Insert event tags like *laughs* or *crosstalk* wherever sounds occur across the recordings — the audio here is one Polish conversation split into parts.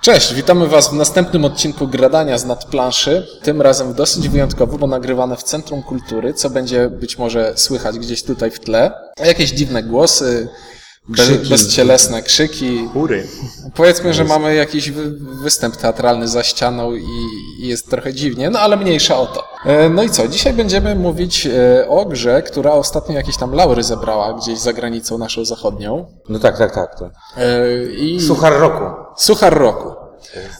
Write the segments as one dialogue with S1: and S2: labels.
S1: Cześć, witamy Was w następnym odcinku Gradania z nadplanszy. Tym razem dosyć wyjątkowo, bo nagrywane w Centrum Kultury, co będzie być może słychać gdzieś tutaj w tle. Jakieś dziwne głosy, krzyki,
S2: Krzyki.
S1: bezcielesne krzyki.
S2: Kury.
S1: Powiedzmy, że mamy jakiś wy występ teatralny za ścianą i i jest trochę dziwnie, no ale mniejsza o to. E, No i co, dzisiaj będziemy mówić e, o grze, która ostatnio jakieś tam laury zebrała gdzieś za granicą naszą zachodnią.
S3: No tak, tak, tak. To.
S1: E, I...
S3: Suchar roku.
S1: Suchar roku.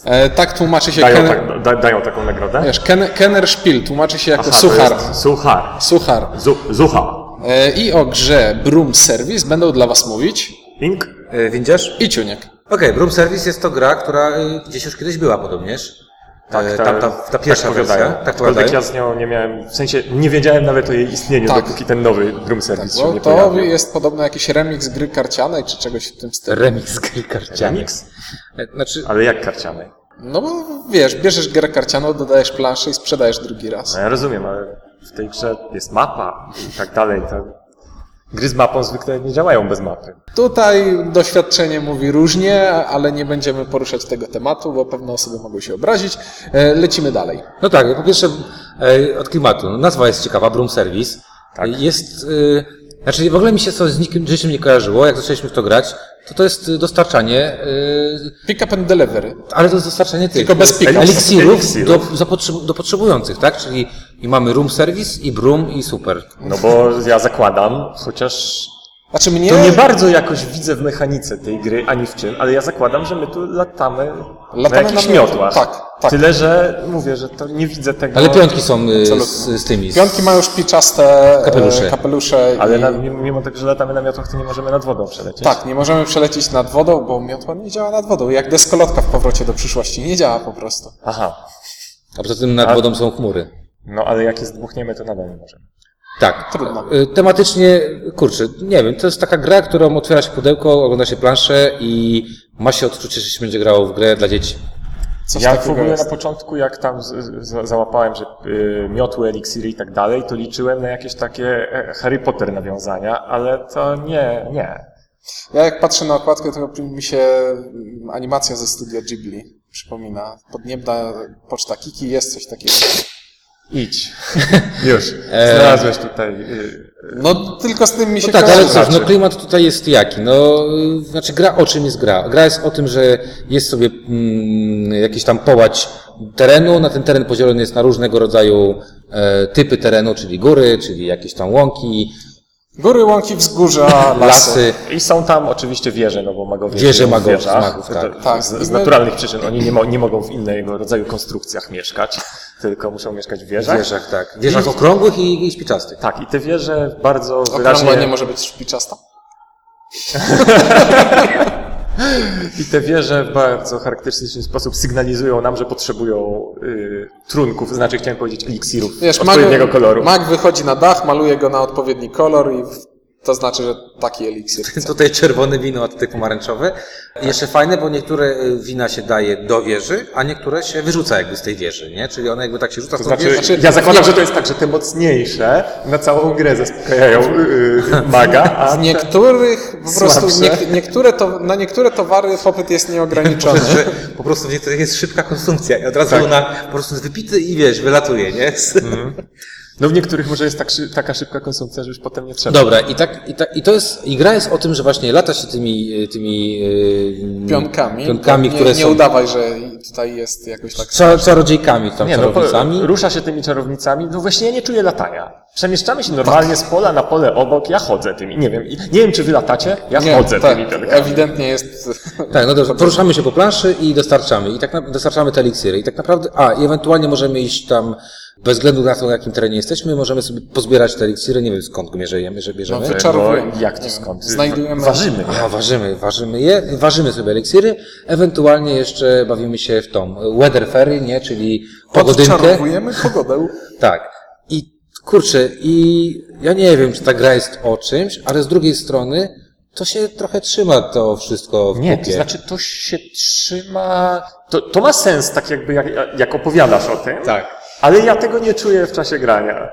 S1: E, tak tłumaczy się
S2: Dają,
S1: Ken...
S2: tak, da, dają taką nagrodę?
S1: wiesz, Ken, Kenner Spiel, tłumaczy się jako
S2: Aha, to
S1: suchar.
S2: jest Suchar.
S1: Suchar.
S2: Zu, zucha.
S1: E, I o grze Broom Service będą dla Was mówić
S2: Ink?
S3: E, Windziarz?
S1: i Ciuniek.
S3: Okej, Broom Service jest to gra, która y, gdzieś już kiedyś była podobnież.
S2: Tak,
S3: E,
S2: ta-
S3: tam, ta, ta pierwsza
S2: tak
S3: wersja.
S2: powiadają.
S3: Tak
S2: Aczkolwiek
S3: powiadają.
S2: ja z nią nie miałem, w sensie nie wiedziałem nawet o jej istnieniu,
S1: Tak.
S2: dopóki ten nowy Drum Service się
S1: Bo
S2: nie
S1: to
S2: pojawił.
S1: jest podobno jakiś remix gry karcianej czy czegoś w tym stylu.
S3: Remix gry karcianej.
S2: Remix?
S3: E, Znaczy,
S2: Ale jak karciany?
S1: No bo wiesz, bierzesz grę karcianą, dodajesz planszę i sprzedajesz drugi raz.
S2: No ja rozumiem, ale w tej grze jest mapa i tak dalej. To... Gry z mapą zwykle nie działają bez mapy.
S1: Tutaj doświadczenie mówi różnie, ale nie będziemy poruszać tego tematu, bo pewne osoby mogą się obrazić. E, Lecimy dalej.
S3: no tak, po pierwsze e, od klimatu. No, Nazwa jest ciekawa, Broom Service.
S2: Tak.
S3: E, Jest, y, znaczy w ogóle mi się to z nikim, z niczym nie kojarzyło, jak zaczęliśmy w to grać, to to jest y, dostarczanie, y,
S1: Pick up and delivery.
S3: ale to jest dostarczanie tych
S1: Tylko bez pika.
S3: eliksirów,
S2: Eliksirów.
S3: Do, zapotrze- do potrzebujących, tak? Czyli i mamy Room Service i Broom i Super.
S2: No bo ja zakładam, chociaż
S1: Znaczy mnie...
S2: to nie bardzo jakoś widzę w mechanice tej gry, ani w czym, ale ja zakładam, że my tu latamy, na
S1: Latamy
S2: jakichś
S1: na miotle,
S2: miotłach.
S1: tak, tak.
S2: Tyle, że mówię, że to nie widzę tego.
S3: Ale piątki są y,
S1: Absolutnie.
S3: z, z tymi. z-
S1: Piątki mają szpiczaste e,
S3: Kapelusze.
S1: kapelusze
S2: Ale
S1: i...
S2: na, mimo tego, że latamy na miotłach, to nie możemy nad wodą przelecieć.
S1: Tak, nie możemy przelecieć nad wodą, bo miotła nie działa nad wodą. Jak deskolotka w powrocie do przyszłości. Nie działa po prostu.
S2: Aha.
S3: A poza tym nad
S1: Tak.
S2: A-
S3: wodą są chmury.
S2: No ale jak je zdmuchniemy, to nadal nie możemy.
S3: Tak.
S1: Trudno.
S3: Y, Tematycznie, kurczę, nie wiem, to jest taka gra, którą otwiera się pudełko, ogląda się planszę i ma się odczucie, że się będzie grało w grę dla dzieci.
S1: Coś
S2: Ja w
S1: takiego
S2: ogóle
S1: jest.
S2: na początku, jak tam z, z, załapałem, że y, miotły, eliksiry i tak dalej, to liczyłem na jakieś takie e, Harry Potter nawiązania, ale to nie, nie.
S1: Ja jak patrzę na okładkę, to mi się mm, animacja ze studia Ghibli przypomina. Podniebna poczta Kiki jest coś takiego.
S2: Idź.
S1: *laughs*
S2: Już.
S1: E,
S2: Znalazłeś tutaj. y,
S1: No tylko z tym mi się
S3: No tak, ale
S1: kojarzy.
S3: cóż, no
S2: Słuchaczy.
S3: klimat tutaj jest jaki? No, y, znaczy gra o czym jest gra? Gra jest o tym, że jest sobie mm, jakiś tam połać terenu, na ten teren podzielony jest na różnego rodzaju e, typy terenu, czyli góry, czyli jakieś tam łąki,
S1: Góry, łąki, wzgórza, lasy.
S3: lasy.
S2: I są tam oczywiście wieże, no bo magowie
S3: Wieże
S2: żyją w
S3: magów,
S2: wieżach.
S3: magów, tak.
S2: To-
S1: Tak.
S2: Z,
S1: I
S2: z
S1: my-
S2: naturalnych przyczyn oni nie, mo nie mogą w innego rodzaju konstrukcjach mieszkać, *laughs* tylko muszą mieszkać w wieżach.
S3: W wieżach, tak. W wieżach okrągłych i, i spiczastych.
S2: Tak, i te wieże bardzo
S1: Okrągła
S2: wyraźnie
S1: nie może być szpiczasta.
S2: i te wieże w bardzo charakterystyczny sposób sygnalizują nam, że potrzebują y, trunków, znaczy chciałem powiedzieć eliksirów
S1: Wiesz, mag,
S2: odpowiedniego koloru.
S1: mag wychodzi na dach, maluje go na odpowiedni kolor i w- to znaczy, że taki eliksir chce.
S3: Tutaj czerwone wino, a tutaj pomarańczowe. I Jeszcze fajne, bo niektóre y, wina się daje do wieży, a niektóre się wyrzuca jakby z tej wieży, nie? Czyli one jakby tak się rzuca z
S2: To
S3: tą
S2: znaczy,
S3: wieży.
S1: znaczy-
S2: ja zakładam, że to jest tak, że te mocniejsze na całą grę zaspokajają y, y, maga, a
S1: Z niektórych po prostu
S2: Słabsze.
S1: niek- niektóre to, na niektóre towary popyt jest
S2: *laughs*
S1: nieograniczony.
S3: Że po prostu w niektórych jest szybka konsumpcja i od razu ona po prostu jest wypity i wiesz, wylatuje, nie? Mhm.
S2: no w niektórych może jest tak, szy- taka szybka konsumpcja, że już potem nie trzeba.
S3: Dobra, i tak, i, tak, i to jest, i gra jest o tym, że właśnie lata się tymi, y, tymi yy,
S1: Pionkami.
S3: pionkami
S1: nie,
S3: które
S1: nie
S3: są
S1: udawaj, że tutaj jest jakoś tak.
S3: cza, czarodziejkami, tam
S2: Nie, no, po,
S3: czarownicami.
S2: rusza się tymi czarownicami, no właśnie ja nie czuję latania. Przemieszczamy się normalnie z pola na pole obok, ja chodzę tymi, nie wiem, i- nie wiem czy wy latacie, ja
S1: Nie,
S2: chodzę
S1: tak,
S2: tymi pionkami.
S1: ewidentnie
S2: *laughs*
S1: jest.
S3: Tak, no dobrze, poruszamy się po planszy i dostarczamy. I tak na, dostarczamy te eliksiry. I tak naprawdę, a, i ewentualnie możemy iść tam, bez względu na to, na jakim terenie jesteśmy, możemy sobie pozbierać te eliksiry, nie wiem skąd go mierzejemy, że bierzemy.
S1: No, Czarowujemy.
S2: Bo jak
S1: Nie
S2: to
S1: wiem,
S2: skąd?
S1: znajdujemy-
S2: Ważymy.
S3: A, ważymy, ważymy je, ważymy sobie eliksiry, ewentualnie jeszcze bawimy się w tą e, weather ferry, nie, czyli pogodynkę.
S1: Odczarowujemy pogodę. *laughs*
S3: Tak. I kurczę, i ja nie wiem, czy ta gra jest o czymś, ale z drugiej strony to się trochę trzyma to wszystko w
S2: Nie,
S3: kupie.
S2: to znaczy to się trzyma, to, to ma sens tak jakby jak, jak opowiadasz o tym,
S3: Tak.
S2: ale ja tego nie czuję w czasie grania.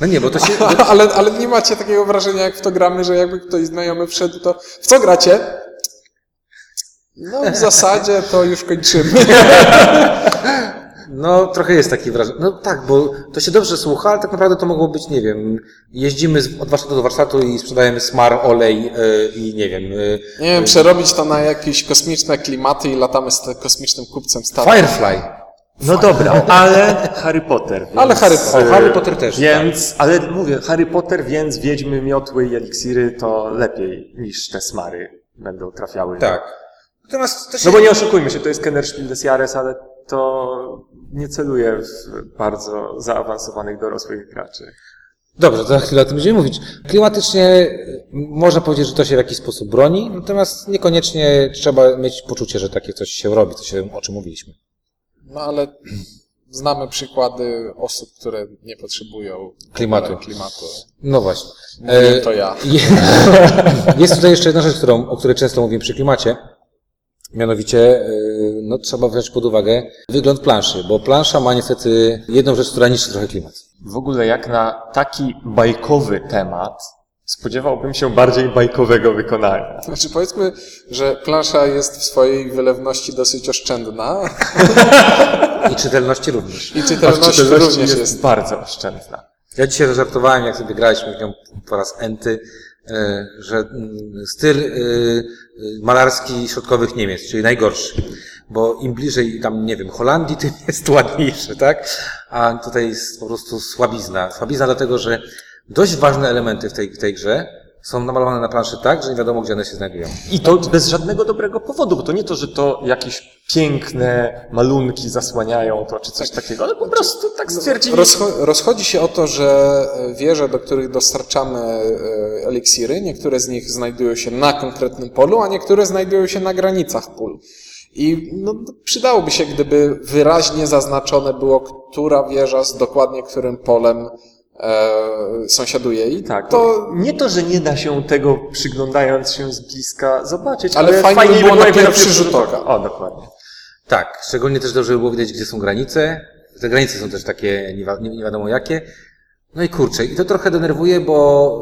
S3: No nie, bo to się,
S1: Ale, ale nie macie takiego wrażenia, jak w to gramy, że jakby ktoś znajomy wszedł, to w co gracie?
S2: *laughs*
S1: No w zasadzie to już kończymy.
S3: No, trochę jest taki wrażenie. No tak, bo to się dobrze słucha, ale tak naprawdę to mogło być, nie wiem, jeździmy z- od warsztatu do warsztatu i sprzedajemy smar, olej yy, i nie wiem. Yy,
S1: Nie wiem, przerobić to na jakieś kosmiczne klimaty i latamy z te- kosmicznym kupcem statku.
S3: Firefly.
S2: No dobra, ale Harry Potter. Więc,
S1: Ale Harry Potter.
S2: e,
S3: Harry Potter też,
S2: Więc, ale mówię, Harry Potter, więc wiedźmy, miotły i eliksiry to lepiej niż te smary będą trafiały.
S3: Tak. Natomiast to się...
S2: No bo nie oszukujmy się, to jest Kenner Spiel des Jahres, ale to nie celuje w bardzo zaawansowanych dorosłych graczy.
S3: Dobrze, to za chwilę o tym będziemy mówić. Klimatycznie y, można powiedzieć, że to się w jakiś sposób broni, natomiast niekoniecznie trzeba mieć poczucie, że takie coś się robi, to się, o czym mówiliśmy.
S1: No ale znamy przykłady osób, które nie potrzebują e,
S3: Klimatu.
S1: klimatu.
S3: No właśnie.
S2: E,
S3: E,
S1: Mówię to ja.
S3: Je- *laughs* Jest tutaj jeszcze jedna rzecz, którą, o której często mówimy przy klimacie. Mianowicie, y, no, trzeba wziąć pod uwagę wygląd planszy, bo plansza ma niestety jedną rzecz, która niszczy trochę klimat.
S2: W ogóle jak na taki bajkowy temat, spodziewałbym się bardziej bajkowego wykonania.
S1: Znaczy powiedzmy, że plansza jest w swojej wylewności dosyć oszczędna
S3: I czytelności również.
S1: i
S2: A w
S1: czytelność
S2: czytelności
S1: również
S2: jest,
S1: jest.
S2: bardzo oszczędna.
S3: Ja dzisiaj żartowałem, jak sobie graliśmy w nią po raz enty, e, że mm, styl e, e, malarski środkowych Niemiec, czyli najgorszy. Bo im bliżej tam, nie wiem, Holandii, *laughs* tym jest ładniejszy, tak? A tutaj jest po prostu słabizna. Słabizna dlatego, że dość ważne elementy w tej, w tej grze są namalowane na planszy tak, że nie wiadomo, gdzie one się znajdują.
S2: I to bez żadnego dobrego powodu, bo to nie to, że to jakieś piękne malunki zasłaniają to, czy coś takiego, ale po prostu
S1: No,
S2: tak stwierdzili.
S1: Rozcho- rozchodzi się o to, że e, wieże, do których dostarczamy e, eliksiry, niektóre z nich znajdują się na konkretnym polu, a niektóre znajdują się na granicach pól. I no, przydałoby się, gdyby wyraźnie zaznaczone było, która wieża z dokładnie którym polem e, sąsiaduje. I
S2: Tak,
S1: to
S2: to nie to, że nie da się tego przyglądając się z bliska zobaczyć,
S1: Ale
S2: ale,
S1: fajnie by było na
S2: byłoby
S1: pierwszy rzut oka.
S2: O, dokładnie.
S3: Tak, szczególnie też dobrze by było widać, gdzie są granice. Te granice są też takie nie, wi- nie, nie wiadomo jakie. No i kurczę, i to trochę denerwuje, bo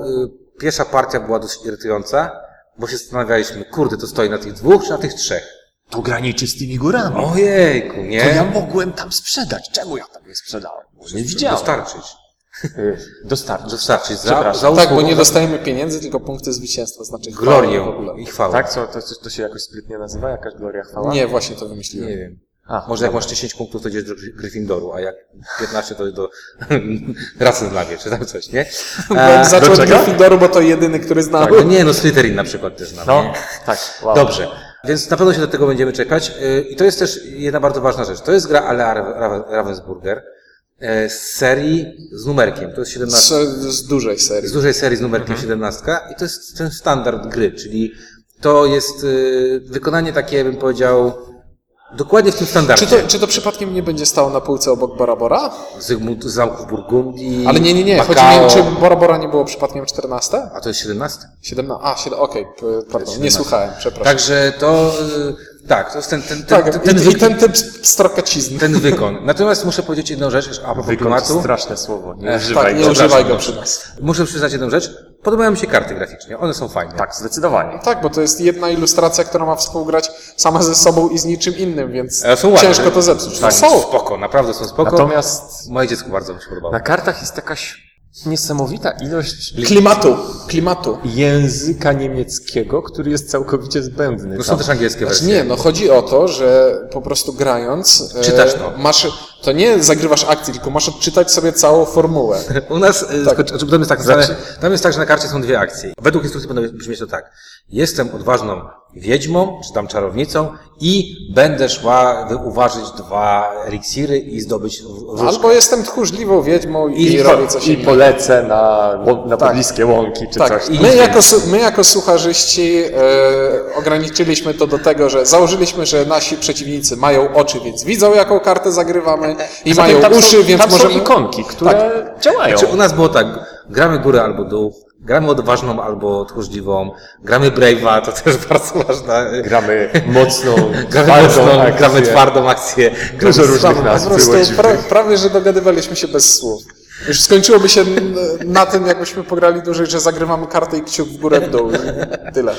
S3: y, pierwsza partia była dosyć irytująca, bo się zastanawialiśmy, kurde, to stoi na tych dwóch czy na tych trzech?
S2: To graniczy z tymi górami.
S3: Ojejku, nie?
S2: To ja mogłem tam sprzedać. Czemu ja tam nie sprzedałem? Nie widziałem.
S3: Dostarczyć.
S2: Y, Dostarczy.
S3: Dostarczyć. Za,
S2: Przepraszam.
S3: za
S1: tak, bo
S3: usługę,
S1: nie
S3: za
S1: dostajemy pieniędzy, tylko punkty zwycięstwa, znaczy chwała w
S3: glorię
S1: ogóle.
S3: i chwałę.
S2: Tak? Co, to, to się jakoś sprytnie nazywa? Jakaś gloria chwała?
S1: Nie, właśnie to wymyśliłem.
S3: Nie wiem.
S2: A,
S3: Może jak masz 10 punktów, to idziesz do Gry- Gryffindoru, a jak 15, to do *laughs* Rasenlawie, czy tam coś,
S2: *laughs*
S3: nie?
S1: Byłem
S3: E,
S1: zaczął od
S2: czego?
S1: Gryffindoru, bo to jedyny, który znam.
S3: no nie, no Slytherin na przykład też znam.
S2: No,
S3: nie?
S2: tak. Wow.
S3: Dobrze. Więc na pewno się do tego będziemy czekać. Yy, I to jest też jedna bardzo ważna rzecz. To jest gra Alea Ra- Ra- Ravensburger e, z serii z numerkiem. To jest 17,
S1: Z, z dużej serii.
S3: z dużej serii z numerkiem 17 i to jest ten standard gry, czyli to jest yy, wykonanie takie, bym powiedział, dokładnie w tym
S1: Czy
S3: standardzie.
S1: to, czy to przypadkiem nie będzie stało na półce obok Barabora?
S3: Zygmunt z zamków Burgundii.
S1: Ale nie, nie, nie. Chodzi mi,
S3: Macao.
S1: o- czy Barabora nie było przypadkiem 14?
S3: A to jest 17?
S1: 17? A, 7, okej, p- pardon, nie słuchałem, przepraszam.
S3: Także to, yy, tak, to jest ten, ten, ten,
S1: Tak,
S3: ten, ten,
S1: i, i
S3: wyk-
S1: ten typ strokacizny.
S3: ten wykon. Natomiast muszę powiedzieć jedną rzecz, a propos
S2: Wygląd to
S3: klimatu.
S2: straszne słowo. Nie używaj
S1: Tak, nie
S2: go.
S1: używaj go przy nas.
S3: Muszę przyznać jedną rzecz. Podobają mi się karty graficznie. One są fajne.
S2: Tak, zdecydowanie.
S1: Tak, bo to jest jedna ilustracja, która ma współgrać sama ze sobą i z niczym innym, więc
S3: Ale E, są ładne.
S1: ciężko to zepsuć.
S3: Tak,
S1: No są.
S3: spoko, naprawdę są spoko.
S2: Natomiast
S3: Moje dziecku bardzo mi się podobało.
S2: na kartach jest jakaś niesamowita ilość
S1: Klimatu, klimatu.
S2: języka niemieckiego, który jest całkowicie zbędny.
S3: No są
S2: tam.
S3: też angielskie
S1: Znaczy
S3: wersje.
S1: nie, no chodzi o to, że po prostu grając... e,
S3: Czytasz to.
S1: Masz, to nie zagrywasz akcji, tylko masz odczytać sobie całą formułę.
S3: *laughs* U nas, e,
S1: Tak.
S3: tylko, znaczy, tam, jest tak,
S2: Znaczy-
S3: zwane- tam jest tak, że na karcie są dwie akcje. Według instrukcji powinno brzmieć to tak. Jestem odważną wiedźmą, czy tam czarownicą i będę szła wyuważyć dwa eliksiry i zdobyć w- wróżkę.
S1: Albo jestem tchórzliwą wiedźmą i,
S2: I,
S1: robię coś
S2: po, I
S1: innego.
S2: polecę na, ło-
S3: Tak.
S2: na pobliskie łąki czy
S1: Tak,
S2: coś.
S1: my jako, su- my jako sucharzyści e, ograniczyliśmy to do tego, że założyliśmy, że nasi przeciwnicy mają oczy, więc widzą jaką kartę zagrywamy i
S2: E, Zatem
S1: mają
S2: tam są-
S1: uszy, więc
S2: tam
S1: możemy...
S2: są ikonki, które działają.
S3: Znaczy, u nas było tak, gramy górę albo dół, gramy odważną albo tchórzliwą, gramy brave'a, to też *laughs* bardzo ważna. e,
S2: Gramy mocną,
S3: *laughs*
S2: tak,
S3: Gramy
S2: twardą
S3: mocną,
S2: akcję.
S3: gramy twardą akcję. gramy
S2: Dużo różnych
S3: słabą.
S1: Po
S2: nazw było
S1: prostu pra,
S2: dziwnych.
S1: prawie, że dogadywaliśmy się bez słów. Już skończyłoby się n- na tym, jakbyśmy pograli dłużej, że zagrywamy kartę i kciuk w górę, w dół. i Tyle.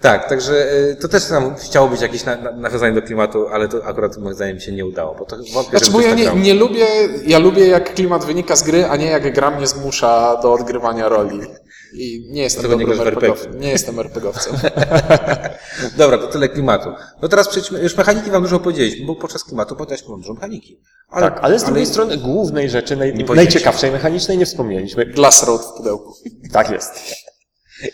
S3: Tak, także y, to też tam chciało być jakieś na, na, nawiązanie do klimatu, ale to akurat moim zdaniem się nie udało, bo to wątpię,
S1: Znaczy, bo
S3: żeby
S1: ja
S3: ktoś tak
S1: nie,
S3: grał.
S1: nie lubię, ja lubię jak klimat wynika z gry, a nie jak gra mnie zmusza do odgrywania roli. I nie jestem
S3: Dlatego nie
S1: dobrym
S3: grasz w
S1: RPGowcem. Nie jestem RPGowcem.
S3: Dobra, to tyle klimatu. No teraz przejdźmy, już mechaniki wam dużo powiedzieliśmy, bo podczas klimatu podaliśmy wam dużo mechaniki. Ale,
S2: Tak, ale z drugiej strony głównej rzeczy, naj,
S3: powiedzieliśmy.
S2: najciekawszej mechanicznej nie wspomnieliśmy.
S1: Glassroad w pudełku.
S2: Tak jest.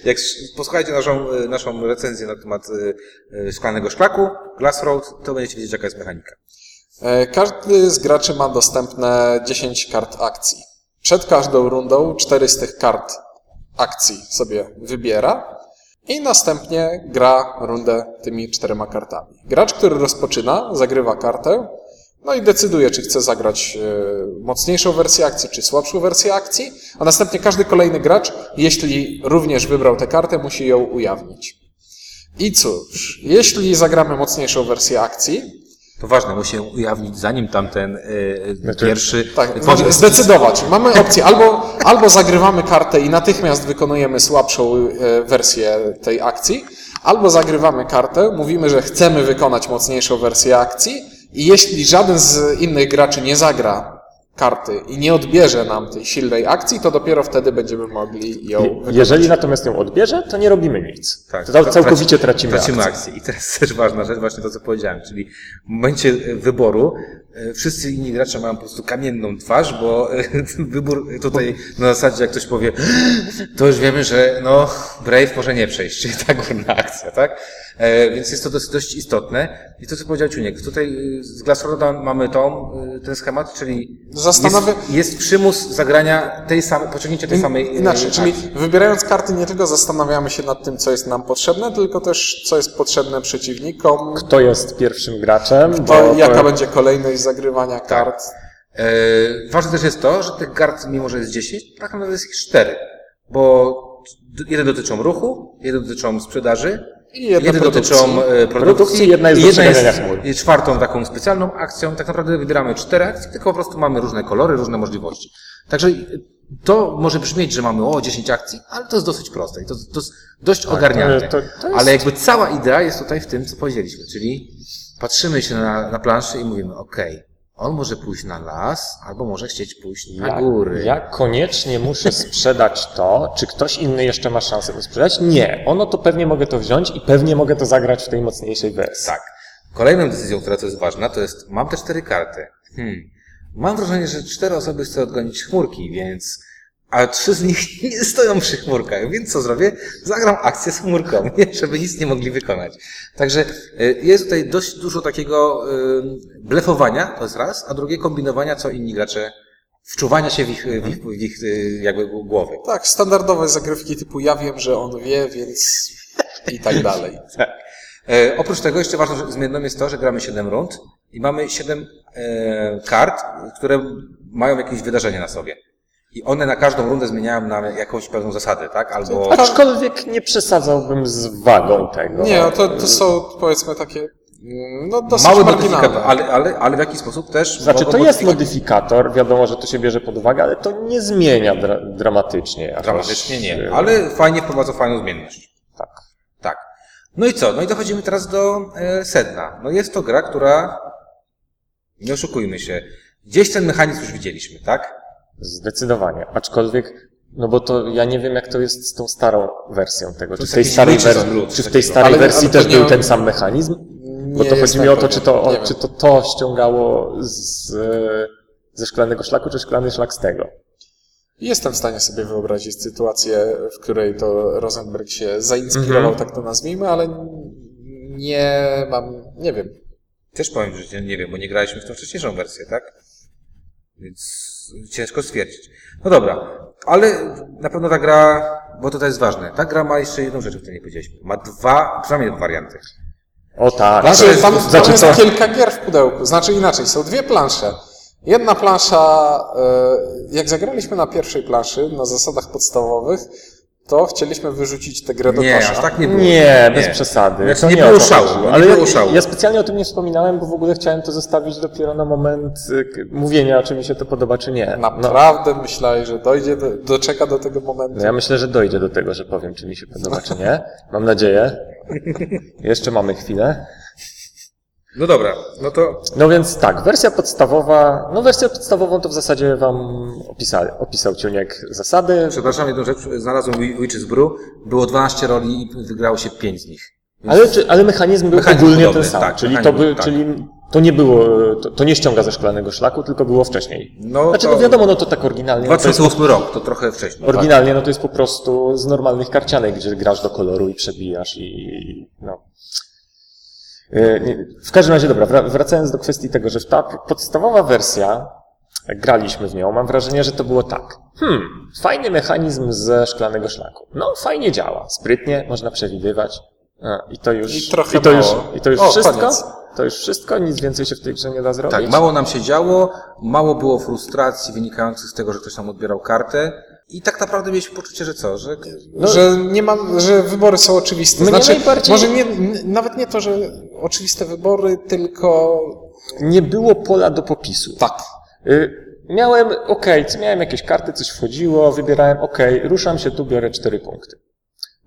S3: Jak s- posłuchajcie naszą, y, naszą recenzję na temat y, y, szklanego szklaku, Glass Road, to będziecie wiedzieć jaka jest mechanika.
S1: E, Każdy z graczy ma dostępne 10 kart akcji. Przed każdą rundą 4 z tych kart akcji sobie wybiera i następnie gra rundę tymi czterema kartami. Gracz, który rozpoczyna, zagrywa kartę, no i decyduje, czy chce zagrać e, mocniejszą wersję akcji, czy słabszą wersję akcji, a następnie każdy kolejny gracz, jeśli również wybrał tę kartę, musi ją ujawnić. I cóż, jeśli zagramy mocniejszą wersję akcji,
S3: To ważne, musi się ujawnić zanim tamten y, y,
S2: Znaczy-
S3: pierwszy...
S1: Tak,
S3: y,
S1: możemy zdecydować. Mamy opcję albo, albo zagrywamy kartę i natychmiast wykonujemy słabszą e, wersję tej akcji, albo zagrywamy kartę, mówimy, że chcemy wykonać mocniejszą wersję akcji i jeśli żaden z innych graczy nie zagra karty i nie odbierze nam tej silnej akcji, to dopiero wtedy będziemy mogli ją
S2: Je-
S1: wykonać.
S2: Jeżeli natomiast ją odbierze, to nie robimy nic.
S3: Tak,
S2: to cał-
S3: tra-
S2: całkowicie
S3: traci-
S2: tracimy,
S3: tracimy
S2: akcję.
S3: akcję. I teraz też ważna rzecz, właśnie to co powiedziałem, czyli w momencie e, wyboru e, wszyscy inni gracze mają po prostu kamienną twarz, bo e, *laughs* wybór tutaj na zasadzie jak ktoś powie, to już wiemy, że no Brave może nie przejść, *laughs* czyli ta górna akcja, tak? E, Więc jest to dosyć, dość istotne. I to co powiedział Ciuniek, tutaj e, z Glassroda mamy tą, e, ten schemat, czyli
S1: Zastanawia-
S3: jest, jest przymus zagrania tej samej, pociągnięcia tej samej e,
S1: Inaczej, czyli
S3: akcji.
S1: wybierając karty nie tylko zastanawiamy się nad tym, co jest nam potrzebne, tylko też co jest potrzebne przeciwnikom,
S2: Kto jest pierwszym graczem?
S1: to
S2: bo-
S1: jaka
S2: bo-
S1: będzie kolejność zagrywania kart.
S3: E, ważne też jest to, że tych kart, mimo że jest 10, tak naprawdę jest ich 4. Bo d- jedne dotyczą ruchu, jedne dotyczą sprzedaży,
S1: I jedne
S3: jedne
S1: produkcji.
S3: dotyczą e, produkcji,
S2: Produkcji, jedna jest
S3: i
S2: do
S3: jedna jest,
S2: przegadania chmur.
S3: jest czwartą taką specjalną akcją. Tak naprawdę wybieramy cztery akcje, tylko po prostu mamy różne kolory, różne możliwości. Także e, to może brzmieć, że mamy o 10 akcji, ale to jest dosyć proste i to, to jest dość ogarniane.
S2: Tak, to- to jest-
S3: Ale jakby cała idea jest tutaj w tym, co powiedzieliśmy, czyli patrzymy się na, na planszę i mówimy, okej, on może pójść na las, albo może chcieć pójść na
S2: Ja,
S3: Tak. góry.
S2: Tak, ja koniecznie muszę sprzedać to. Czy ktoś inny jeszcze ma szansę to sprzedać? Nie. Ono to pewnie mogę to wziąć i pewnie mogę to zagrać w tej mocniejszej wersji.
S3: Tak. Kolejną decyzją, która tu jest ważna, to jest, mam te cztery karty. Hmm. Mam wrażenie, że cztery osoby chcą odgonić chmurki, więc, a trzy z nich *laughs* nie stoją przy chmurkach, więc co zrobię? Zagram akcję z chmurką, *laughs* nie? żeby nic nie mogli wykonać. Także y, jest tutaj dość dużo takiego y, blefowania, to jest raz, a drugie kombinowania, co inni gracze, wczuwania się w ich, w ich, w ich y, jakby głowy.
S1: Tak, standardowe zagrywki typu ja wiem, że on wie, więc i
S2: *laughs*
S1: tak dalej.
S3: E, oprócz tego jeszcze ważną rzecz- zmienną jest to, że gramy 7 rund i mamy 7 e, kart, które mają jakieś wydarzenie na sobie. I one na każdą rundę zmieniają nam jakąś pewną zasadę, tak? Albo
S2: Aczkolwiek nie przesadzałbym z wagą tego.
S1: Nie, no, to, to są powiedzmy takie mm, no, dosyć
S3: mały modyfikator,
S1: marginalne.
S3: ale, ale, ale w jakiś sposób też...
S2: Znaczy,
S3: bo-
S2: to
S3: bo-
S2: jest modyfikator, wiadomo, że to się bierze pod uwagę, ale to nie zmienia dra dramatycznie. jakoś,
S3: Dramatycznie nie,
S2: e,
S3: ale fajnie wprowadza fajną zmienność.
S2: Tak.
S3: Tak. No i co? No i dochodzimy teraz do e, sedna. No jest to gra, która, nie oszukujmy się, gdzieś ten mechanizm już widzieliśmy, tak?
S2: Zdecydowanie. Aczkolwiek, no bo to ja nie wiem, jak to jest z tą starą wersją tego. Czy
S3: jest
S2: w tej
S3: jakiś
S2: starej,
S3: myczy
S2: wer-
S3: zawrót,
S2: czy w tej
S3: takiego.
S2: starej
S1: Ale-
S2: wersji
S1: ale to
S2: też
S1: nie-
S2: był ten sam mechanizm? Bo
S1: Nie
S2: to chodzi
S1: jestem
S2: mi o to,
S3: tak
S1: pewien,
S2: czy to,
S1: nie wiem.
S2: czy to to ściągało z, e, ze szklanego szlaku, czy szklany szlak z tego.
S1: Jestem w stanie sobie wyobrazić sytuację, w której to Rosenberg się zainspirował,
S2: Mhm.
S1: tak to nazwijmy, ale nie mam, nie wiem.
S3: Też powiem, że nie wiem, bo nie graliśmy w tą wcześniejszą wersję, tak? Więc ciężko stwierdzić. No dobra, ale na pewno ta gra, bo to, to jest ważne, ta gra ma jeszcze jedną rzecz, o której nie powiedzieliśmy. Ma dwa, przynajmniej dwa warianty.
S2: O tak.
S1: Znaczy,
S2: to jest-
S1: tam,
S2: znaczy,
S1: tam jest
S2: co-
S1: kilka gier w pudełku. Znaczy inaczej, są dwie plansze. Jedna plansza, e, jak zagraliśmy na pierwszej planszy, na zasadach podstawowych, to chcieliśmy wyrzucić tę grę do
S3: Nie,
S1: kosza.
S3: aż tak nie było.
S2: Nie, bez przesady.
S3: Znaczy,
S2: To
S3: nie
S2: o to
S3: było szału,
S2: chodziło.
S3: nie
S2: Ale
S3: było szału.
S2: Ja specjalnie o tym nie wspominałem, bo w ogóle chciałem to zostawić dopiero na moment y, k- mówienia, czy mi się to podoba, czy nie. No,
S1: Naprawdę myślałeś, że dojdzie, do, doczeka do tego momentu.
S2: no ja myślę, że dojdzie do tego, że powiem, czy mi się podoba, czy nie. Mam nadzieję. Jeszcze mamy chwilę.
S3: No dobra, no to
S2: No więc tak, wersja podstawowa, no wersję podstawową to w zasadzie wam opisał, opisał Ciuniek zasady.
S3: przepraszam, jedną rzecz, znalazłem Wi- Witches Brew, było 12 roli i wygrało się 5 z nich.
S2: Ale, czy, ale mechanizm był
S3: Mechanizm
S2: ogólnie
S3: podobny,
S2: ten sam.
S3: tak,
S2: czyli, to
S3: mechanizm,
S2: by,
S3: tak.
S2: czyli to nie było, to, to nie ściąga ze szklanego szlaku, tylko było wcześniej.
S3: No
S2: znaczy,
S3: to-
S2: no wiadomo, no to tak oryginalnie. No to jest,
S3: 2008 rok, to trochę wcześniej.
S2: oryginalnie no to jest po prostu z normalnych karcianek, gdzie grasz do koloru i przebijasz i no. Yy, nie- W każdym razie, dobra, wra- wracając do kwestii tego, że ta p- podstawowa wersja, jak graliśmy w nią, mam wrażenie, że to było tak. Hmm, fajny mechanizm ze szklanego szlaku. No, fajnie działa, sprytnie, można przewidywać. A, I to już,
S1: I trochę
S2: to już,
S1: mało.
S2: i to już
S1: O,
S2: wszystko?
S1: koniec.
S2: To już wszystko? Nic więcej się w tej grze nie da zrobić?
S3: Tak, mało nam się działo, mało było frustracji wynikających z tego, że ktoś nam odbierał kartę i tak naprawdę mieliśmy poczucie, że co, że
S2: No-
S1: że nie mam, że wybory są oczywiste.
S2: Mnie
S1: znaczy,
S2: najbardziej-
S1: może nie, n- nawet nie to, że oczywiste wybory, tylko
S2: Nie było pola do popisu.
S1: tak.
S2: Y, Miałem, okej, co- miałem jakieś karty, coś wchodziło, wybierałem, okej, ruszam się tu, biorę cztery punkty.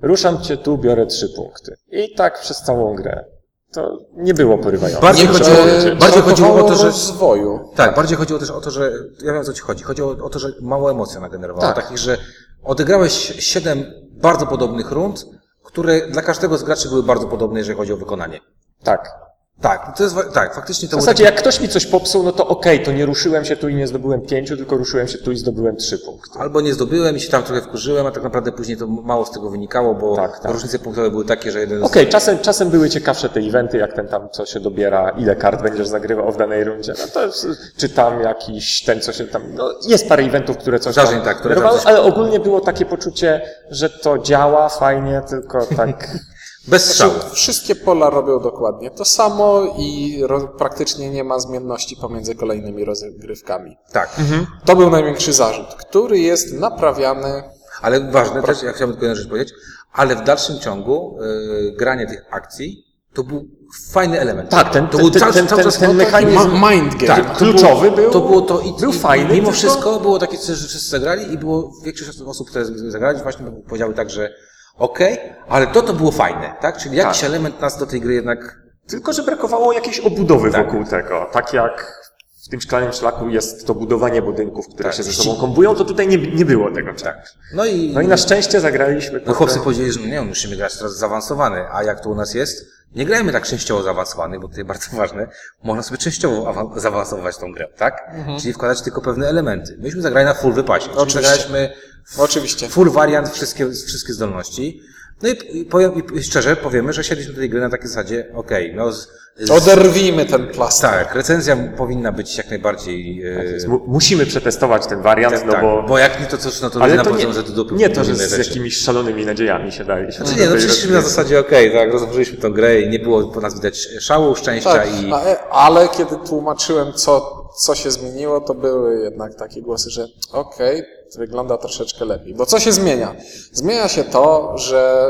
S2: Ruszam cię tu, biorę trzy punkty. I tak przez całą grę. To nie było porywające.
S3: Bardziej
S1: Nie
S3: chodziło-
S1: e,
S3: bardziej chodziło
S1: brakowało
S3: o to, że-
S1: rozwoju.
S3: Tak, bardziej chodziło też o to, że ja wiem o co ci chodzi. Chodziło o to, że mało emocji nagenerowała.
S2: Tak.
S3: Takich, że odegrałeś siedem bardzo podobnych rund, które dla każdego z graczy były bardzo podobne, jeżeli chodzi o wykonanie.
S2: Tak.
S3: Tak, to jest, wa- tak, faktycznie
S2: W
S3: to było
S2: zasadzie jak ktoś mi coś popsuł, no to okej, to nie ruszyłem się tu i nie zdobyłem pięciu, tylko ruszyłem się tu i zdobyłem trzy punkty.
S3: takie, albo nie zdobyłem i się tam trochę wkurzyłem, a tak naprawdę później to mało z tego wynikało, bo
S2: Tak, tak.
S3: różnice punktowe były takie, że jeden z...
S2: Okej, czasem, czasem były ciekawsze te eventy, jak ten tam, co się dobiera, ile kart będziesz zagrywał w danej rundzie. No to jest, czy tam jakiś, ten, co się tam, no jest parę eventów, które coś
S3: Zdarzeń,
S2: tam
S3: tak, które
S2: generowały,
S3: tam coś-
S2: ale ogólnie było takie poczucie, że to działa fajnie, tylko
S3: *laughs*
S2: tak,
S3: bez
S1: Znaczy,
S3: strzału.
S1: wszystkie pola robią dokładnie to samo i ro- praktycznie nie ma zmienności pomiędzy kolejnymi rozgrywkami.
S3: Tak.
S2: Mhm.
S1: To był największy zarzut, który jest naprawiany.
S3: Ale ważne też, ja chciałbym tylko jedną rzecz powiedzieć, ale w dalszym ciągu y, granie tych akcji to był fajny element.
S2: tak, ten,
S3: to
S2: ten,
S3: był
S2: ten,
S3: cały-
S2: ten,
S3: cały
S2: ten,
S3: czas-
S2: ten
S3: no to-
S2: mechanizm
S1: ma- mind game.
S2: tak, kluczowy był,
S3: To było to i,
S2: był
S3: i
S2: fajny,
S3: mimo
S2: tylko-
S3: wszystko było takie, że wszyscy zagrali i było większość osób, które zagrali, właśnie powiedziały tak, że okej, ale to to było fajne, tak? Czyli jakiś
S2: Tak.
S3: element nas do tej gry jednak
S2: Tylko, że brakowało jakiejś obudowy wokół tego. Tak jak w tym szklanym szlaku jest to budowanie budynków, które
S3: Tak.
S2: się ze sobą kombują, to tutaj nie, nie było tego czegoś.
S3: no i,
S2: No i na szczęście zagraliśmy.
S3: no chłopcy
S2: potem-
S3: powiedzieli, że nie, musimy grać teraz zaawansowany, a jak to u nas jest? Nie grajmy tak częściowo zaawansowany, bo to jest bardzo ważne. Można sobie częściowo awa- zaawansować tą grę, tak? Czyli wkładać tylko pewne elementy. Myśmy zagrali na full wypasie, czyli
S1: Mhm. Oczywiście.
S3: zagraliśmy
S1: Oczywiście.
S3: full wariant, wszystkie, wszystkie zdolności. No i, i, powiem, i szczerze powiemy, że siedliśmy do tej gry na takiej zasadzie, okej, no z, z,
S1: Oderwijmy ten plastik.
S3: tak, recenzja powinna być jak najbardziej... e,
S2: Mu- musimy przetestować ten wariant, Tak, no
S3: tak,
S2: bo...
S3: bo jak nie to coś, no to
S2: ale
S3: na
S2: to
S3: poziom,
S2: nie,
S3: że do dupy
S2: nie to, że
S3: robimy
S2: z
S3: rzeczy.
S2: jakimiś szalonymi nadziejami się dali. Się
S3: Znaczy nie, no przecież na zasadzie okej, tak, rozłożyliśmy tą grę i nie było po nas widać szału, szczęścia
S1: Tak,
S3: i...
S1: a- ale kiedy tłumaczyłem, co, co się zmieniło, to były jednak takie głosy, że okej, to wygląda troszeczkę lepiej. Bo co się zmienia? Zmienia się to, że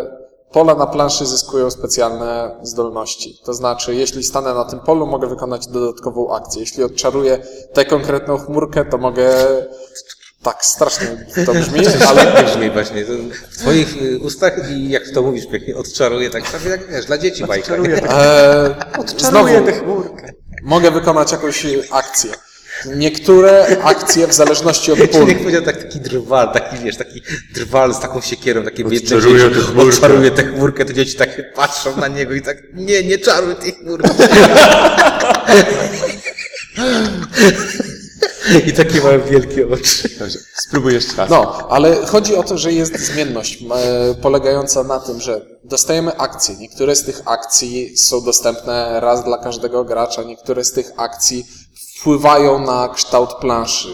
S1: pola na planszy zyskują specjalne zdolności. To znaczy, jeśli stanę na tym polu, mogę wykonać dodatkową akcję. Jeśli odczaruję tę konkretną chmurkę, to mogę... Tak, strasznie to brzmi, ale...
S3: Ale brzmi właśnie, to w twoich y, ustach i jak to mówisz pięknie, odczaruje tak prawie jak, wiesz, dla dzieci bajka. *laughs*
S1: E,
S2: Odczaruję tę chmurkę.
S1: mogę wykonać jakąś akcję. Niektóre akcje, w zależności od pól,
S3: Człowiek powiedział tak, taki drwal, taki wiesz, taki drwal z taką siekierą, takie biedne
S2: Odczaruje
S3: dzieci,
S2: tę chmurkę.
S3: odczaruje tę chmurkę, te dzieci tak patrzą na niego i tak, nie, nie czaruj tej chmurki. I takie mają wielkie oczy.
S2: Spróbuj jeszcze raz.
S1: No, ale chodzi o to, że jest zmienność e, polegająca na tym, że dostajemy akcje. Niektóre z tych akcji są dostępne raz dla każdego gracza, niektóre z tych akcji wpływają na kształt planszy,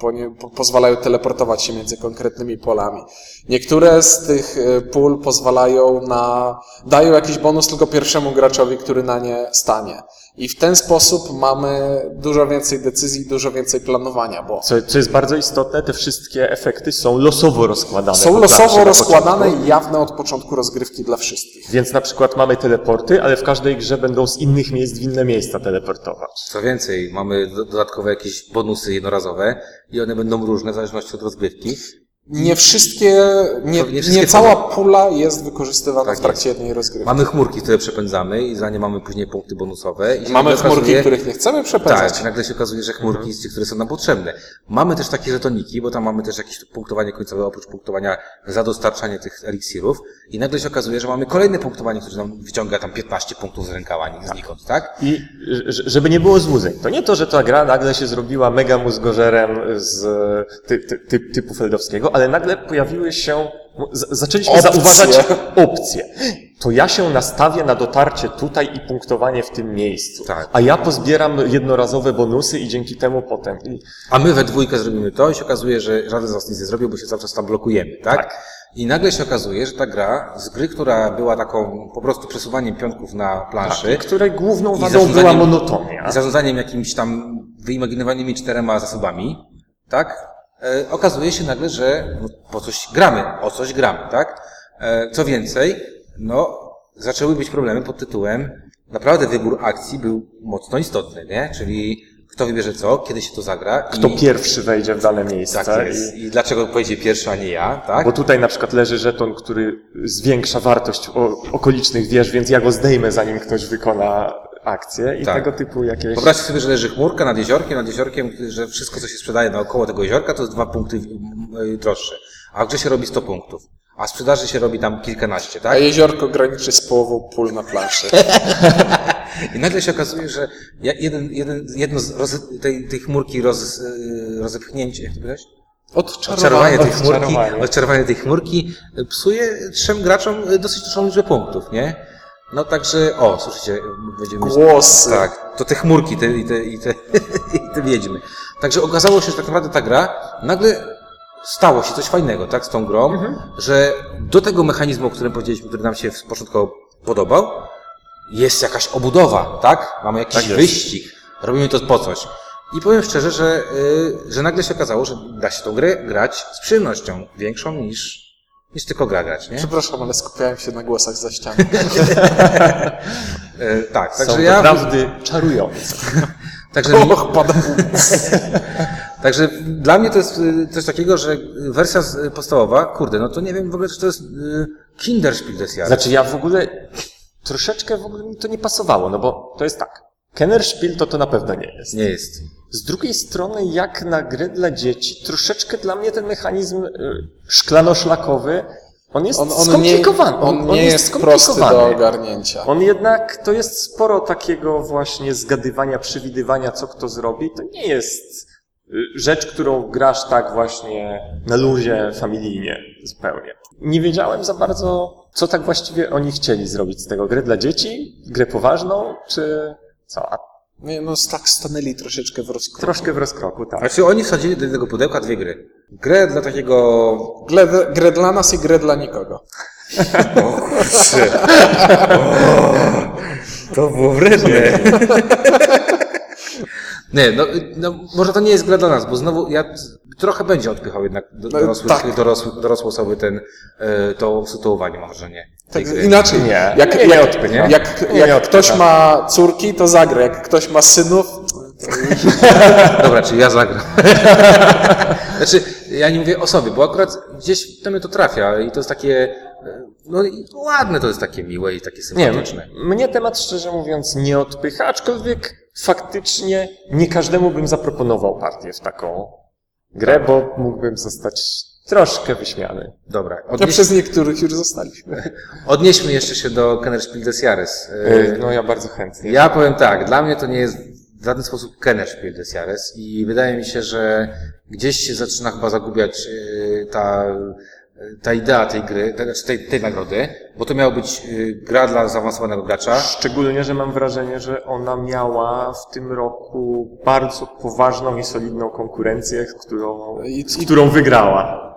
S1: po nie, po, pozwalają teleportować się między konkretnymi polami. Niektóre z tych e, pól pozwalają na, dają jakiś bonus tylko pierwszemu graczowi, który na nie stanie. I w ten sposób mamy dużo więcej decyzji, dużo więcej planowania,
S3: no-
S1: bo
S2: Co, co jest bardzo istotne, te wszystkie efekty są losowo rozkładane.
S1: są
S2: od zawsze
S1: losowo
S2: na
S1: rozkładane
S2: początku.
S1: i jawne od początku rozgrywki dla wszystkich.
S2: Więc na przykład mamy teleporty, ale w każdej grze będą z innych miejsc w inne miejsca teleportować.
S3: *laughs* Co więcej, mamy do- dodatkowe jakieś bonusy jednorazowe i one będą różne w zależności od rozgrywki.
S1: Nie wszystkie, nie,
S3: Pewnie wszystkie
S1: nie cała pula jest wykorzystywana
S3: Tak
S1: w trakcie jednej rozgrywki.
S3: Mamy chmurki, które przepędzamy i za nie mamy później punkty bonusowe. I się
S1: Mamy
S3: nagle
S1: chmurki,
S3: okazuje-
S1: których nie chcemy przepędzać.
S3: Tak, nagle się okazuje, że chmurki mhm. które są nam potrzebne. Mamy też takie żetoniki, bo tam mamy też jakieś punktowanie końcowe, oprócz punktowania za dostarczanie tych eliksirów. I nagle się okazuje, że mamy kolejne punktowanie, które nam wyciąga tam 15 punktów z rękawa ni- znikąd, tak?
S2: I ż- żeby nie było złudzeń, to nie to, że ta gra nagle się zrobiła mega mózgożerem z ty, ty, ty, typu Feldowskiego, ale nagle pojawiły się, z, zaczęliśmy
S1: Opcje.
S2: zauważać *laughs* opcje. To ja się nastawię na dotarcie tutaj i punktowanie w tym miejscu.
S3: Tak.
S2: A ja pozbieram jednorazowe bonusy i dzięki temu potem. I
S3: A my we dwójkę zrobimy to i się okazuje, że żaden z nas nic nie zrobił, bo się cały czas tam blokujemy, tak? I nagle się okazuje, że ta gra z gry, która była taką po prostu przesuwaniem pionków na planszy,
S2: której
S3: Tak,
S2: główną
S3: I
S2: wadą była
S3: zarządzaniem-
S2: monotonia.
S3: i zarządzaniem jakimś tam wyimaginowanymi czterema zasobami, tak? E, okazuje się nagle, że no, po coś gramy, o coś gramy, tak? E, co więcej, no, zaczęły być problemy pod tytułem naprawdę wybór akcji był mocno istotny, nie? Czyli kto wybierze co, kiedy się to zagra
S2: Kto
S3: i,
S2: pierwszy wejdzie w dane miejsce.
S3: tak jest.
S2: I,
S3: I dlaczego pojedzie pierwszy, a nie ja, tak?
S2: bo tutaj na przykład leży żeton, który zwiększa wartość o, okolicznych wież, więc ja go zdejmę zanim ktoś wykona akcję i
S3: Tak.
S2: tego typu jakieś...
S3: Wyobraźcie sobie, że leży chmurka nad jeziorkiem, nad jeziorkiem, że wszystko, co się sprzedaje naokoło tego jeziorka, to jest dwa punkty y, droższe. A grze się robi 100 punktów. A sprzedaży się robi tam kilkanaście,
S1: A
S3: tak?
S1: jeziorko graniczy z połową pól na planszy.
S3: I nagle się okazuje, że ja- jeden, jeden, jedno z roz, tej, tej chmurki roz, y, rozepchnięcie, jak to powiedziałeś? Odczarowanie tej chmurki,
S2: Odczarowanie.
S3: odczarowanie tej chmurki y, psuje trzem graczom y, dosyć dużą liczbę punktów, nie? No także, o, słyszycie, będziemy mieć
S1: Głosy.
S3: Tak, to te chmurki te, i, te, i, te, *laughs* i te wiedźmy. Także okazało się, że tak naprawdę ta gra nagle stało się coś fajnego tak, z tą grą,
S2: Mhm.
S3: że do tego mechanizmu, o którym powiedzieliśmy, który nam się w- początkowo podobał, jest jakaś obudowa, tak? Mamy jakiś
S2: Tak jest.
S3: wyścig, robimy to po coś. I powiem szczerze, że, y, że nagle się okazało, że da się tą grę grać z przyjemnością większą niż, niż tylko gra grać, nie?
S1: Przepraszam, ale skupiałem się na głosach za ścianą.
S3: Y, tak,
S2: Są
S3: także ja...
S2: naprawdę czarujące.
S3: Także
S1: Och, pada
S3: *laughs* Także dla mnie to jest y, coś takiego, że wersja z- y, podstawowa, kurde, no to nie wiem w ogóle, czy to jest y, Kinderspiel des
S1: Tak.
S3: Jahres.
S2: Znaczy ja w ogóle troszeczkę w ogóle mi to nie pasowało, no bo to jest tak. Kennerspiel to to na pewno nie jest.
S3: Nie jest.
S2: Z drugiej strony, jak na grę dla dzieci, troszeczkę dla mnie ten mechanizm y, szklano-szlakowy, on jest
S1: On, on, nie,
S2: skomplikowany.
S1: on nie jest, prosty do ogarnięcia.
S2: On jednak, to jest sporo takiego właśnie zgadywania, przewidywania, co kto zrobi. To nie jest y, rzecz, którą grasz tak właśnie na luzie, familijnie zupełnie. Nie wiedziałem za bardzo, co tak właściwie oni chcieli zrobić z tego. Grę dla dzieci, grę poważną, czy co? A
S1: Nie, no tak stanęli troszeczkę w rozkroku.
S2: troszkę w rozkroku, tak.
S3: Znaczy oni wsadzili do tego pudełka dwie gry. Grę dla takiego...
S1: Grę, grę dla nas i grę dla nikogo.
S3: To było wredne. Nie, no, y, no może to nie jest gra dla nas, bo znowu ja z- trochę będzie odpychał jednak do-
S1: No,
S3: dorosłych,
S1: tak.
S3: dorosłych, dorosłe osoby ten, y, to sytuowanie mam wrażenie. tej
S1: Tak,
S3: gry.
S1: inaczej.
S2: Yy, Nie, No
S1: jak,
S2: nie, nie
S1: jak,
S2: odpycha.
S1: jak, jak,
S2: Nie no tak. odpycha.
S1: ktoś ma córki, to zagra. Jak ktoś ma synów,
S3: Dobra, czyli ja zagram. *laughs* znaczy, ja nie mówię o sobie, bo akurat gdzieś do mnie to trafia i to jest takie, e, no i ładne to jest takie miłe i takie
S2: Nie, no.
S3: sympatyczne.
S2: m- mnie temat szczerze mówiąc nie odpycha, aczkolwiek faktycznie nie każdemu bym zaproponował partię w taką grę, bo mógłbym zostać troszkę wyśmiany.
S3: Dobra,
S2: *laughs*
S1: to
S3: odnieś,
S1: przez niektórych już zostaliśmy.
S3: odnieśmy jeszcze się do Kennerspiel des Jahres. E,
S2: Yy, No ja bardzo chętnie.
S3: Ja powiem tak, dla mnie to nie jest w żaden sposób Kennerspiel des Jahres i wydaje mi się, że gdzieś się zaczyna chyba zagubiać e, ta, ta idea tej gry, to znaczy tej, tej nagrody, bo to miało być e, gra dla zaawansowanego gracza.
S2: Szczególnie, że mam wrażenie, że ona miała w tym roku bardzo poważną i solidną konkurencję, z którą,
S1: I-
S2: z którą wygrała.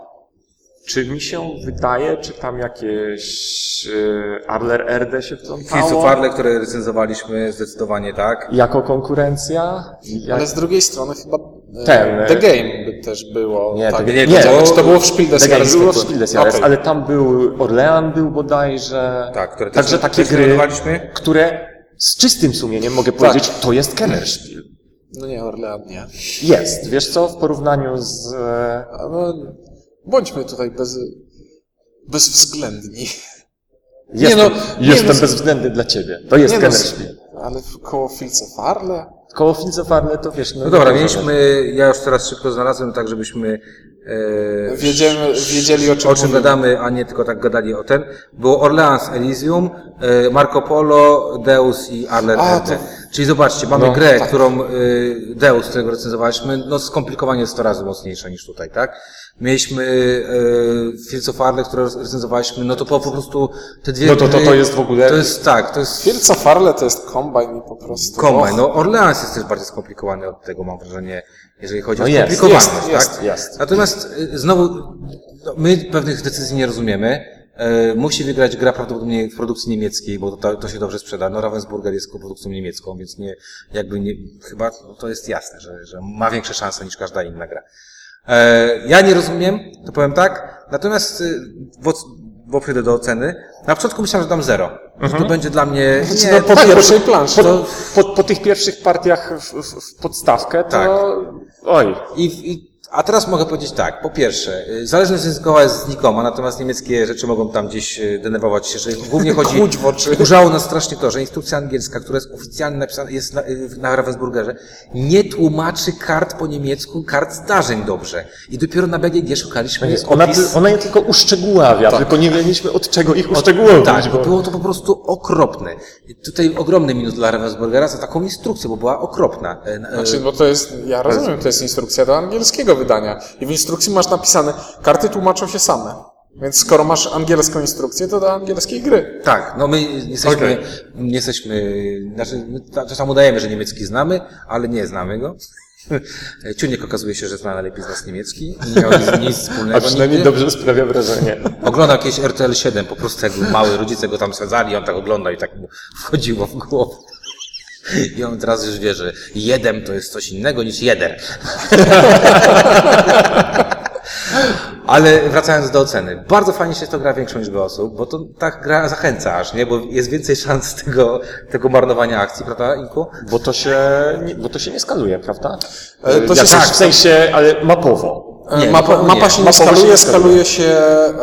S2: Czy mi się wydaje, czy tam jakieś e, Arler RD się
S3: Fisu
S2: wtrącało?
S3: Farle, które recenzowaliśmy, zdecydowanie tak.
S2: Jako konkurencja? Jak...
S1: Ale z drugiej strony chyba e,
S2: Ten, e,
S1: The Game by też było.
S2: Nie,
S1: tak,
S2: The
S3: Game-
S1: nie,
S3: nie,
S1: czy
S3: bo-
S1: to było w Spiel des
S2: Tak,
S1: Jahres
S2: było
S1: zwykłym?
S2: Spiel des Jahres,
S1: Okej.
S2: ale tam był Orlean był bodajże.
S3: Tak, które też-
S2: Także takie
S3: też
S2: gry,
S3: nominowaliśmy.
S2: które z czystym sumieniem mogę
S1: Tak.
S2: powiedzieć, to jest Kennerspiel.
S1: No nie, Orlean nie.
S2: Jest, wiesz co, w porównaniu z... e,
S1: A No, bądźmy tutaj bez, bezwzględni.
S2: Jestem,
S1: no, nie,
S2: jestem
S1: no-
S2: bezwzględny dla ciebie. To jest
S1: Nie no,
S2: Kennerspiel.
S1: Ale w- koło Filce Farle?
S2: Koło Finzefarle to wiesz...
S3: No dobra,
S2: nie
S3: mieliśmy, ja już teraz szybko znalazłem, tak żebyśmy e,
S1: Wiedziemy, wiedzieli o czym,
S3: o czym
S1: mówimy.
S3: gadamy, a nie tylko tak gadali o ten. Było Orleans Elysium, e, Marco Polo, Deus i Arlen
S1: A,
S3: Erde. Czyli zobaczcie, mamy
S1: No,
S3: grę,
S1: tak.
S3: którą e, Deus, którego recenzowaliśmy, no skomplikowanie 100 razy mocniejsze niż tutaj, tak? Mieliśmy e, Fields of Arle, które recenzowaliśmy, no to po, po prostu te dwie
S2: No to- to-
S3: gry-
S2: to jest w ogóle-
S3: To jest tak, to jest
S1: Filca Farle to jest kombajn i po prostu...
S3: Kombajn, no Orleans jest też bardziej skomplikowany od tego, mam wrażenie, jeżeli chodzi
S2: No
S3: o
S2: jest,
S3: skomplikowaność,
S1: jest,
S3: tak?
S2: jest, jest.
S3: Natomiast y, znowu, no, my pewnych decyzji nie rozumiemy. E, musi wygrać gra prawdopodobnie w produkcji niemieckiej, bo to, to się dobrze sprzeda. No Ravensburger jest produkcją niemiecką, więc nie, jakby nie, chyba to jest jasne, że, że ma większe szanse niż każda inna gra. E, ja nie rozumiem, to powiem tak. Natomiast, y, bo, bo przejdę do oceny, na początku myślałem, że dam zero. Że to będzie dla mnie...
S1: Znaczy,
S3: nie,
S1: no, po
S3: to-
S1: pierwszej planszy.
S2: Tak,
S1: no.
S2: Po,
S1: To,
S2: po, po tych pierwszych partiach w, w, w podstawkę to...
S3: Tak.
S2: Oj,
S3: I, i, a teraz mogę powiedzieć tak. Po pierwsze, y, zależność językowa jest znikoma, natomiast niemieckie rzeczy mogą tam gdzieś y, denerwować się, że głównie chodzi...
S1: Kłuć w oczy.
S3: Kurzało nas strasznie to, że instrukcja angielska, która jest oficjalnie napisana, jest na, y, na Ravensburgerze, nie tłumaczy kart po niemiecku, kart zdarzeń dobrze. I dopiero na BGG szukaliśmy opis...
S2: ona, ty- ona je tylko uszczegóławia, tylko nie wiedzieliśmy Tak. od czego ich uszczegółowić.
S3: Tak, bo
S2: bo-
S3: było to po prostu okropne. I Tutaj ogromny minus dla Ravensburgera za taką instrukcję, bo była okropna. E, na- e,
S1: znaczy, bo to jest, ja rozumiem, to jest instrukcja do angielskiego wydania. I w instrukcji masz napisane, karty tłumaczą się same. Więc skoro masz angielską instrukcję, to do angielskiej gry.
S3: Tak, no my nie jesteśmy,
S2: Okej.
S3: nie jesteśmy, znaczy my ta- czasem udajemy, że niemiecki znamy, ale nie znamy go. *laughs* Ciuniek okazuje się, że zna najlepiej z nas niemiecki, nie miał nic- nic wspólnego.
S2: A przynajmniej
S3: nigdy.
S2: dobrze sprawia wrażenie.
S3: Oglądał jakieś RTL 7, po prostu jak był mały, rodzice go tam sadzali, on tak oglądał i tak mu wchodziło w głowę. I on teraz już wie, że jedem to jest coś innego niż jeder. *laughs* Ale wracając do oceny. Bardzo fajnie się to gra większą liczbę osób, bo to tak gra zachęca aż, nie? Bo jest więcej szans tego, tego marnowania akcji, prawda, Inku?
S2: Bo to się, nie- bo to się nie skaluje, prawda?
S1: E, to się
S2: Jakoś
S1: tak.
S2: w sensie, ale mapowo.
S1: E,
S3: Nie,
S1: mapa,
S3: nikomu nie.
S1: mapa się nie
S2: Mapowo się
S1: skaluje,
S2: nie
S1: skaluje się, e,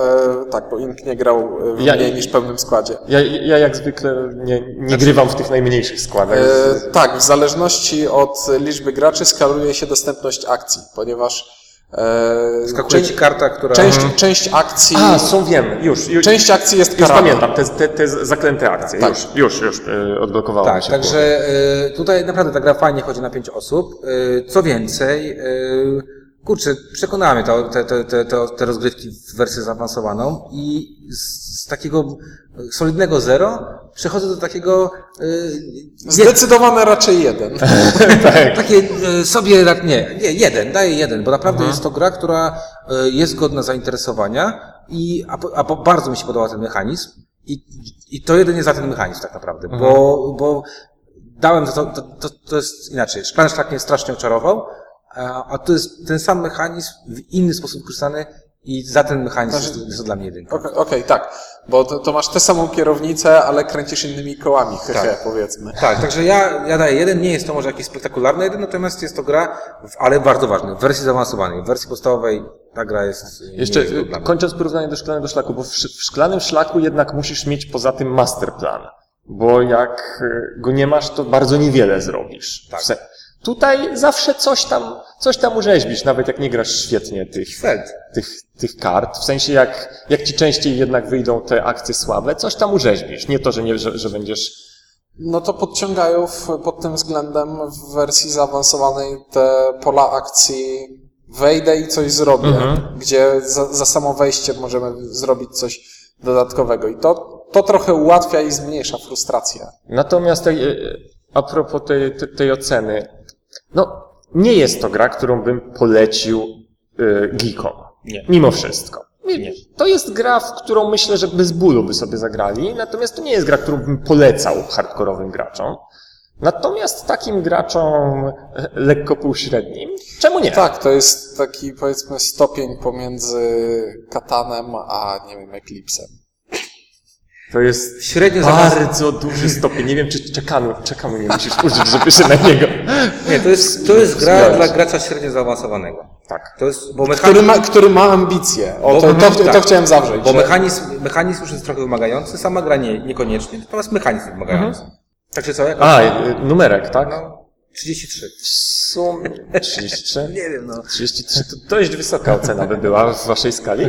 S1: tak, bo Ink nie grał e, w
S2: Ja-
S1: mniej niż pełnym składzie.
S2: Ja, ja jak zwykle nie, nie grywam w tych najmniejszych składach.
S1: Znaczy- E, tak, w zależności od liczby graczy skaluje się dostępność akcji, ponieważ e,
S3: Skakuje ci karta, która...
S1: część, część akcji
S2: A, są, wiem, już. już
S1: część akcji jest
S2: już
S1: karana.
S2: pamiętam, te, te, te zaklęte akcje.
S1: Tak.
S2: Już, już, już e, odblokowałem
S3: Tak,
S2: się.
S3: także y, tutaj naprawdę ta gra fajnie chodzi na pięć osób. Y, co więcej, y, kurczę, przekonała mnie to, te, te, te, te, te rozgrywki w wersję zaawansowaną i z, z takiego solidnego zero przechodzę do takiego y,
S1: Zdecydowane raczej jeden.
S3: takie e, sobie, ra- nie, nie, jeden, daję jeden, bo naprawdę jest to gra, która e, jest godna zainteresowania i a, po- a po- bardzo mi się podoba ten mechanizm i, i to jedynie za ten mechanizm tak naprawdę, bo, bo dałem za to, to, to, to jest inaczej, szklany szlak mnie strasznie oczarował, a, a to jest ten sam mechanizm w inny sposób wykorzystany i za ten mechanizm
S1: Znaczy-
S3: jest to dla mnie jedynka.
S1: Okej, okej, tak. Bo to, to masz tę samą kierownicę, ale kręcisz innymi kołami, *laughs* hehe,
S3: Tak.
S1: powiedzmy.
S3: Tak, także ja, ja daję jeden, nie jest to może jakiś spektakularny jeden, natomiast jest to gra, w, ale bardzo ważny, w wersji zaawansowanej, w wersji podstawowej ta gra jest e,
S2: Jeszcze
S3: nie jest
S2: e,
S3: dla mnie.
S2: kończąc porównanie do szklanego szlaku, bo w, sz- w szklanym szlaku jednak musisz mieć poza tym masterplan, bo jak e, go nie masz, to bardzo niewiele zrobisz.
S3: Tak.
S2: W se- Tutaj zawsze coś tam, coś tam urzeźbisz, nawet jak nie grasz świetnie tych,
S3: Feld.
S2: tych, tych kart. W sensie jak, jak ci częściej jednak wyjdą te akcje słabe, coś tam urzeźbisz. Nie to, że, nie, że, że będziesz...
S1: No to podciągają w, pod tym względem w wersji zaawansowanej te pola akcji wejdę i coś zrobię,
S3: Mhm.
S1: gdzie za, za samo wejście możemy zrobić coś dodatkowego. I to, to trochę ułatwia i zmniejsza frustrację.
S2: Natomiast tej, e, a propos tej, te- tej oceny, no nie jest to gra, którą bym polecił e, geekom.
S3: Nie.
S2: Mimo wszystko. Mówię, to jest gra, w którą myślę, że bez bólu by sobie zagrali, natomiast to nie jest gra, którą bym polecał hardkorowym graczom. Natomiast takim graczom e, lekko półśrednim, czemu nie?
S1: Tak, to jest taki powiedzmy stopień pomiędzy katanem a nie wiem, eklipsem.
S2: To jest
S3: Średnio zaawansowany.
S2: bardzo duży stopień. Nie wiem, czy czekamy, czekamy nie musisz użyć, żeby się na niego.
S3: Nie, to jest, to jest gra
S2: Zgadza
S3: dla
S2: się.
S3: gracza średnio zaawansowanego.
S2: Tak.
S3: To jest, bo mechanizm,
S1: Który ma, który ma ambicje. O, to, to, to, to chciałem zawrzeć.
S3: tak. Bo
S1: że-
S3: mechanizm, mechanizm już jest trochę wymagający, sama gra nie, niekoniecznie, natomiast mechanizm wymagający. Także co, jak?
S2: A, y, numerek, tak?
S3: No, 33.
S2: W sumie 33.
S3: Nie wiem, no.
S2: 33 to dość wysoka ocena by była w waszej skali.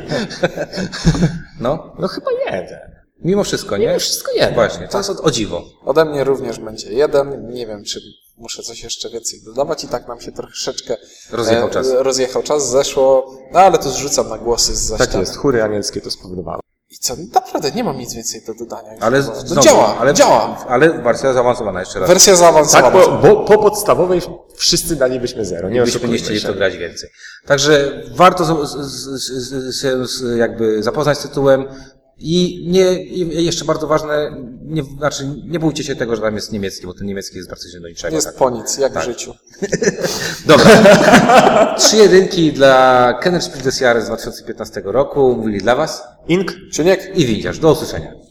S3: No,
S2: No chyba jeden.
S3: mimo wszystko, nie?
S2: Mimo wszystko jeden.
S3: Właśnie, to jest o, o dziwo.
S1: Ode mnie również będzie jeden. Nie wiem, czy muszę coś jeszcze więcej dodawać i tak nam się troszeczkę E,
S3: Rozjechał czas.
S1: rozjechał czas, zeszło, no ale to zrzucam na głosy z zaściany.
S2: Tak jest, chóry anielskie to spowodowało.
S1: I co, naprawdę nie mam nic więcej do dodania. już
S3: Ale
S1: chyba. to
S3: znowu,
S1: no działa,
S3: ale,
S1: działa.
S3: Ale wersja zaawansowana jeszcze raz.
S1: Wersja zaawansowana.
S2: Tak, bo, bo po podstawowej wszyscy dalibyśmy zero. Nie
S3: Byśmy nie
S2: oszukujmy
S3: chcieli w
S2: się.
S3: to grać więcej. Także warto z, z, z, z, się z, jakby zapoznać z tytułem i nie, i jeszcze bardzo ważne, nie, znaczy nie bójcie się tego, że tam jest niemiecki, bo ten niemiecki jest praktycznie do niczego.
S1: Jest
S3: tak.
S1: po nic, jak w życiu.
S3: Dobra. *laughs* Trzy jedynki dla Kenner Spiel des Jahres z 2015 roku. Mówili dla Was
S2: Ink
S1: Czy nie?
S3: i Windziarz. Do usłyszenia.